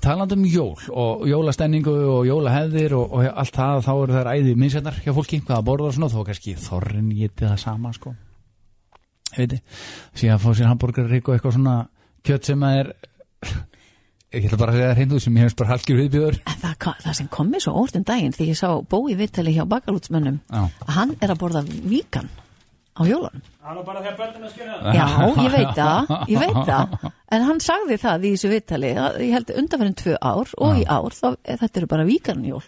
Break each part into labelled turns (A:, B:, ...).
A: talandi um jól og jólastenningu og jólaheðir og, og allt það þá eru þær æði minnsetnar hjá fólki hvað að borða og svona þó kannski þorrin geti það sama sko ég veit þið, síðan að fá sér hambúrgarrygg og eitthvað svona kjött sem að er ég ætla bara að segja það reyndu sem ég hefst bara halkjur viðbjöður
B: En það, ka- það sem kom mér svo óvart um daginn því ég sá bói vittali hjá bakalútsmönnum
A: Já.
B: að hann er að borða víkan á jólun
C: Hann var bara þegar börnum að skilja það.
B: Já, ég veit það, ég veit það en hann sagði það í þessu vittali ég held undanferðin tvö ár og í ár þá, þetta eru bara víkanjól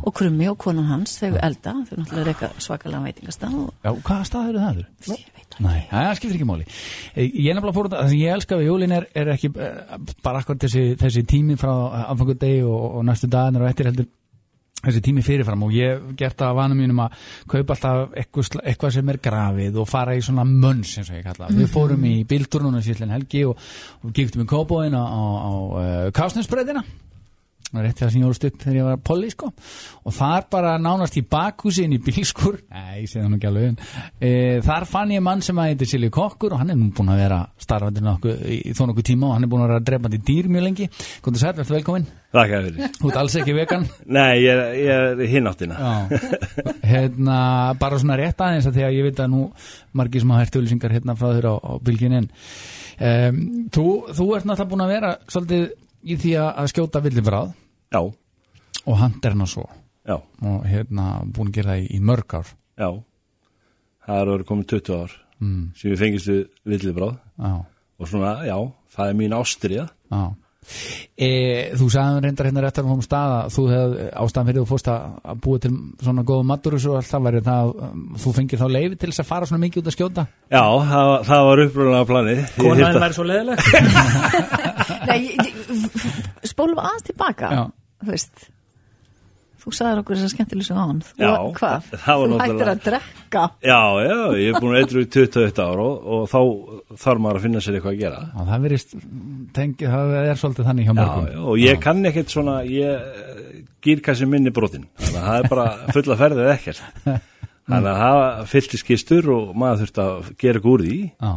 B: og krummi og konan hans þau elda þau náttúrulega reyka svakalega veitingastað og
A: Já, hvaða stað eru það?
B: Ég veit það
A: Nei, það það skiptir ekki máli Eh, Ég er nefnilega fórum, það sem ég elska við jólin er, er ekki eh, bara akkur þessi, þessi tími frá affangadegi og, og næstu dagarnir og eftir heldur þessi tími fyrirfram og ég hef gert það að vanum mínum að kaupa alltaf eitthvað, sl- eitthvað sem er grafið og fara í svona mönns eins og ég kalla. það.
B: Mhm.
A: Við fórum í bílturnuna síðan helgi og, og gíktum í kópóin á, á, á uh, kásnusbreyðina rétt þegar sem ég ólst upp þegar ég var polli sko. og þar bara nánast í bakhúsi inn í bílskur, nei, ég sé það nú ekki alveg en, e, þar fann ég mann sem að heitir Silvi Kokkur og hann er nú búin að vera starfandi nokkuð, í, í þó nokkuð tíma og hann er búin að vera drefandi dýr mjög lengi Góndi Sæl, verður velkominn,
C: Takk að fyrir.
A: þú ert alls ekki vegan
C: Nei, ég er, ég er í hináttina.
A: Já, hérna, bara svona rétt aðeins að því að ég veit að nú margir sem hafa hægt auðlýsingar hérna frá þér á, á bylginin um, þú, þú ert náttúrulega búin að vera svolítið í því að að skjóta villifráð
C: Já,
A: og handerna svo
C: já,
A: og hérna búin að gera það í, í mörg ár
C: já. Það er orðið komið 20 ár mm. sem ég fengist við villibráð
A: já,
C: og svona, já, það er mín ástriða.
A: já. E, þú sagðum reyndar hérna réttar um stað að þú hefð ástæðan fyrir þú fórst að, að búa til svona góða maturus og allt það væri það að um, þú fengir þá leifi til þess að fara svona mikið út að skjóta
C: Já, það, var- það var uppröðulega planið. Ég þyrfti
D: Konaðin
C: að-
D: væri svo leðileg
B: Nei, ég- ég- spólum aðeins tilbaka
A: Já.
B: þú veist þú sagðir okkur þessar skemmtileg sem án þú,
C: Já,
B: hvað,
C: það var
B: þú hættir
C: náttúrulega-
B: að drekka
C: Já, já, ég er búin að eitthvað í 21 ár og, og þá þarf maður að finna sér eitthvað að gera.
A: og það verist, tengi, það er svolítið þannig hjá
C: Já,
A: mörgum
C: já, og ég kann ekkert svona, ég eh, gýrkassi minni brotin, þannig að það er bara fulla ferðið ekkert. Þannig að það fyllti skistur og maður þurfti að gera eitthvað úr því
A: Já,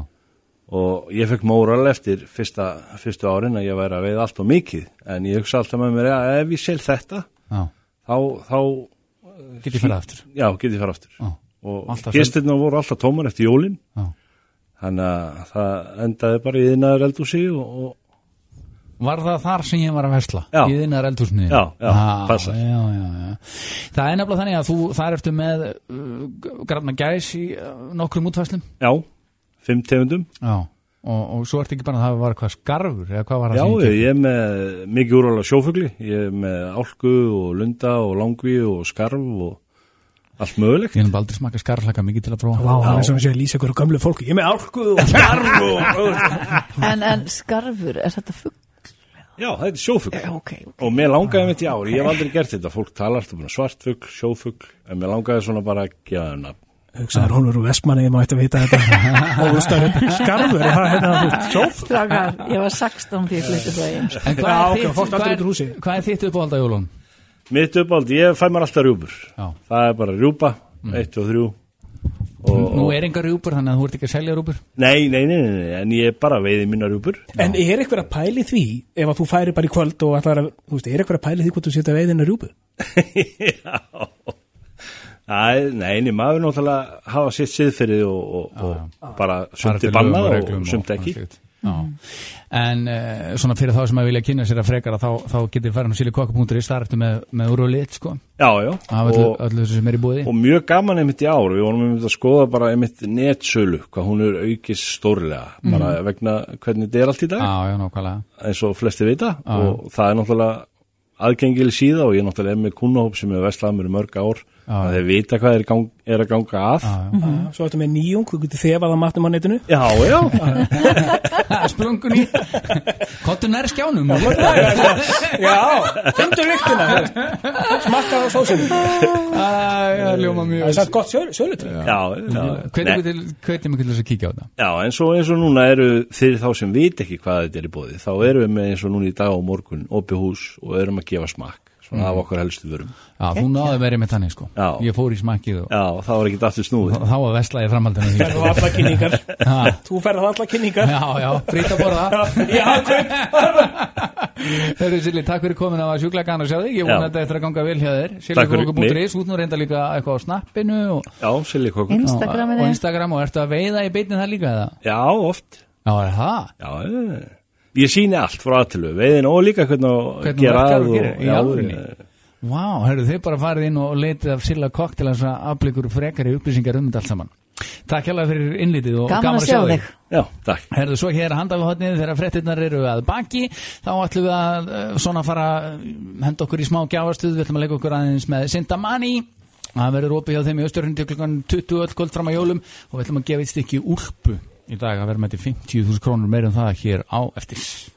C: og ég fekk móral eftir fyrsta, fyrstu árin að ég væri að veið allt og mikið, en ég hugsa alltaf með mér að ef ég sel þetta,
A: já,
C: þá, þá
A: getið fyrir aftur
C: já, get ég fara aftur.
A: Já.
C: Og
A: Alltaf
C: gistirna voru alltaf tómar eftir jólinn,
A: Já.
C: þannig að það endaði bara í þinnaður eldúsi og, og
A: Var það þar sem ég var að versla?
C: Já.
A: Í þinnar eldhúsniði?
C: Já, já, passar.
A: já, já, já. Það er nefnilega þannig að þú þar ertu með uh, granna gæs í uh, nokkrum útfæslum
C: já, fimm tegundum.
A: Já, og, og svo ertu ekki bara að það var hvað skarfur eða hvað var það
C: Já,
A: sem
C: ég er með mikið úrval af sjófugli, ég er með álku og lunda og langvi og skarf og allt mögulegt.
A: Ég hef aldrei smakað skarflaka mikið til að prófa
D: Vá, það er sem að segja lýsa ykkur gömlu fólki Ég er með álkuð og
C: Skarf og...
B: en, en skarfur, er þetta fugg?
C: Já, þetta er sjófugl.
B: Já, ok,
C: Og mér langaði mitt í ári, ég hef aldrei gert þetta, fólk talar alltaf um svartfugl, sjófugl, en mér langaði svona bara að gefa þeim nafn.
D: Hugsaður, hún er úr Vestmanni, ég má eitthvað vita þetta Og hún stöður upp skarfur og það hérna þú veist, sjóf
B: Strákar, ég var 16 því ég flytti frá ég
A: En hvað,
D: Já,
A: er
D: ok,
A: þitt,
D: fórstu
A: hvað,
D: aldrei út úr húsi?
A: er, hvað er þitt uppáhald að jólun?
C: Mitt uppáld, ég fæ mér alltaf rjúpur.
A: Já.
C: Það er bara rjúpa, eitt og þrjú. Og,
A: Nú er engar rjúpur þannig að þú ert ekki að selja rjúpur
C: nei, nei, nei, nei, nei, en ég bara veiði mína rjúpur.
D: En er eitthvað að pæli því ef að þú færi bara í kvöld og ætlar að, þú veist, er eitthvað að pæli því hvort þú setja veiðinu rjúpu?
C: Já Æ, Nei, nei, maður náttúrulega hafa sitt siðferði og, og, og bara
A: Bara
C: sumt er
A: eftir
C: bannað
A: lögum
C: og,
A: reglum
C: og sumt ekki
A: slíkt. Já. En uh, svona fyrir þá sem að vilja kynna sér að frekara þá, þá getið farin á silikokka.is þar ertu með, með úr og lit sko
C: Já, já,
A: af öllu,
C: og,
A: öllu þessu sem er í búði
C: og mjög gaman einmitt í ár við vorum einmitt að skoða bara einmitt netsölu hvað hún er aukist stórlega bara vegna hvernig þetta er allt í dag
A: Já, já, nákvæmlega
C: eins og flesti vita og það er náttúrulega aðgengileg síða og ég náttúrulega er með kunnahóp sem er veslaða mér í mörg ár
A: Já.
C: að þeir vita hvað er, í gang, er að ganga að
A: Já, já.
D: Ah, Svo ertu með nýjung, þú getur þefað á matnum á netinu
C: Ah, Já, Ah, já,
A: Splungun í Kottu nær skjánum og lotta
D: Já, fundur viktina þú veist. Smakka á sósum
A: Það er ljóma
D: Það er
A: mjög
D: samt gott sölutrygg
C: já, já. Nei.
A: Hvernig við til þess að kíkja á það
C: Já, eins og, eins og núna eru fyrir þá sem vit ekki hvað þetta er í bóði, þá erum við með eins og núna í dag og morgun opið hús og erum að gefa smakk, svona svona
A: Mhm.
C: af okkar helstu vörum
A: Já, þú náðu verið með þannig sko
C: Já.
A: Ég fór í smakkið og
C: Já, það var ekki aftur snúið
A: þá var vesla ég framhaldinu því
D: Færðu á alla kynningar Þú færðu á alla kynningar
A: Já, já, frýtt að borða
D: Já, kaup
A: Hörru Silli, takk fyrir komin að var sjúklega gana að sjá þig Ég
C: Já.
A: vona þetta eftir að ganga vel hjá þér Silli
C: Takk fyrir
A: Kóku.is, út nú reynda líka eitthvað á snappinu og,
C: Já, silikokkur
B: Instagramin
A: og
B: er
A: Instagram og ertu að veiða í beinni það líka eða?
C: Já, oft
A: Já, er það?
C: Já, eh, ég síni allt frá aðtilu veiðin og líka hvernig að
A: Hvernig
C: gera
A: verkar
C: að
A: og
C: og-
A: gerir, í
C: Já,
A: alvörinni?
C: eh,
A: Vá, wow, hörru, þau bara farið inn og leitið af Silla Kokk til þess að afblikur frekari upplýsingar um þetta allt saman Takk hérlega fyrir innlitið og
B: Gaman að sjá þig
C: Já, takk
A: Herðu, svo hér handa við hotnið þegar frettirnar eru að baki þá ætlum við að uh, svona fara uh, henda okkur í smá gjáfastuð við ætlum að leika okkur aðeins með Sintamani það verður opið hjá þeim í Östurhundi til klukkan 20 öll kvöld fram að jólum og við ætlum að gefa eitt stykki úlpu í dag að verður með þetta í 50.000 krónur meira en það hér á eftir